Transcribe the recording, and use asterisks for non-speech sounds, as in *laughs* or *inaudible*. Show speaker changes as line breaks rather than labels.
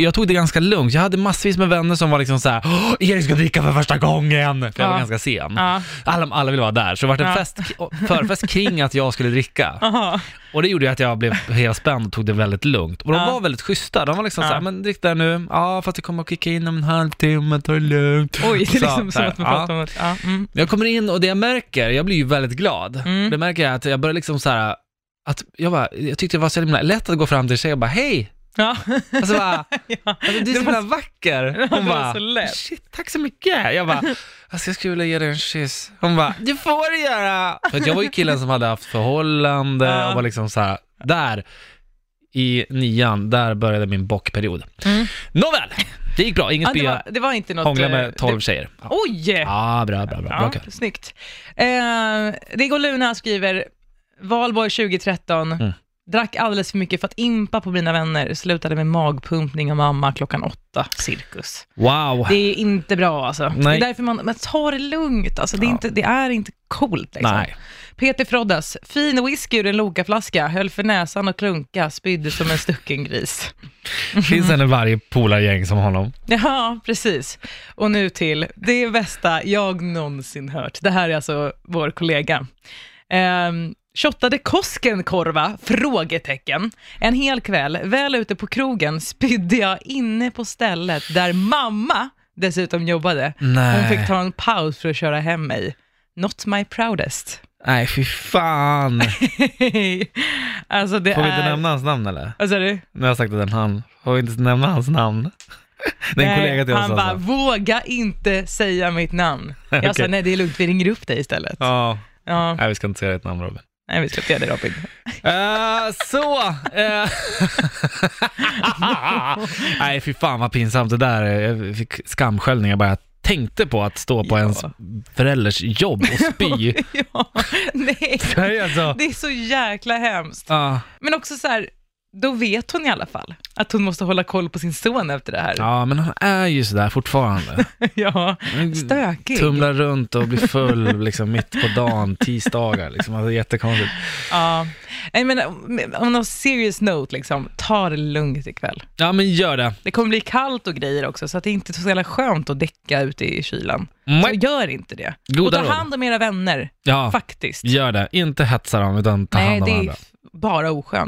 jag tog det ganska lugnt. Jag hade massvis med vänner som var liksom såhär "Åh, Erik ska dricka för första gången! För jag
Ja.
var ganska sen.
Ja.
Alla, alla ville vara där, så det var en
Ja.
fest, förfest kring att jag skulle dricka.
Aha.
Och det gjorde ju att jag blev helt spänd och tog det väldigt lugnt. Och de
Ja.
var väldigt schyssta, de var liksom
Ja.
såhär, men drick där nu, ja fast det kommer att kicka in om en halvtimme, ta det lugnt.
Oj, det
Så,
är liksom
så
som
här,
att man
ja.
pratar om att... Ja, mm.
Jag kommer in och det jag märker, jag blir ju väldigt glad.
Mm.
Det märker jag att jag börjar liksom såhär, att jag, bara, jag tyckte det var så himla lätt att gå fram till tjejer och bara hej!
ja.
Alltså *laughs* bara,
ja.
alltså, du är så
Det var
himla vacker!
Ja,
Hon
det var
bara,
så lätt.
shit tack så mycket! Jag *laughs* bara, alltså jag skulle vilja ge dig en kyss. Hon bara, det får du göra! För att jag var ju killen som hade haft förhållande
Ja.
och var liksom så här, där i nian, där började min bockperiod.
Mm.
Nåväl, det gick bra, ingen
Ja, det,
spya,
var, det var inte något...
hångla
eh,
med
det-
12 tjejer. Ja,
Oj!
ah, bra, bra, bra, bra
Ja,
kul.
snyggt. Eh, Rigo Luna skriver, valborg 2013,
Mm.
drack alldeles för mycket för att impa på mina vänner, slutade med magpumpning av mamma klockan åtta, cirkus.
Wow.
Det är inte bra alltså.
Nej.
Det är därför man, man tar det lugnt, alltså. det, är
Ja.
inte, det är inte coolt. Liksom.
Nej.
Peter Froddas, fin whisky ur en Lokaflaska, höll för näsan och klunka, spydde som en stucken gris.
Finns en i varje polargäng som honom.
*laughs* Ja, precis. Och nu till det bästa jag någonsin hört. Det här är alltså vår kollega. Ehm, Shottade Koskenkorva? Frågetecken. En hel kväll, väl ute på krogen, spydde jag inne på stället där mamma dessutom jobbade. Hon fick ta en paus för att köra hem mig. Not my proudest. *laughs*
Nej, fy *laughs* fan.
alltså det
Får vi
är...
inte nämna hans namn eller?
Vad sa du?
Nu har jag sagt att den han. Får vi inte nämna hans namn? *laughs* Det är en
Nej,
kollega till oss
Han bara,
alltså.
våga inte säga mitt namn. Jag sa,
Okej.
nej det är lugnt, vi ringer upp dig istället. Ja.
Ja, nej vi ska inte säga ditt namn Robin.
Nej, vi släppte det Robin.
Eh, så! eh. *laughs* Nej, fy fan vad pinsamt det där. eh, Jag fick skamsköljning. Jag bara tänkte på att stå på
Ja.
ens förälders jobb och
*laughs*
spy.
*laughs* ja,
*laughs*
nej.
Det är alltså...
Det är så jäkla hemskt.
Ja,
Men också så här, då vet hon i alla fall att hon måste hålla koll på sin son efter det här.
ja, men han är ju sådär fortfarande.
*laughs* ja.
Mm.
Stökig.
Tumlar runt och blir full liksom, mitt på dagen, tisdagar. Liksom. Alltså, jättekonstigt.
Ja. Nej, men on a serious note, liksom, ta det lugnt ikväll.
Ja, men gör det.
Det kommer bli kallt och grejer också, så att det är inte så jävla skönt att däcka ute i kylan. Så
Mm.
gör inte det. och
Goda
ta
råd.
hand om era vänner,
Ja,
faktiskt.
gör det. Inte hetsa dem, utan ta
Nej,
hand om
det är
andra.
f- bara oskönt.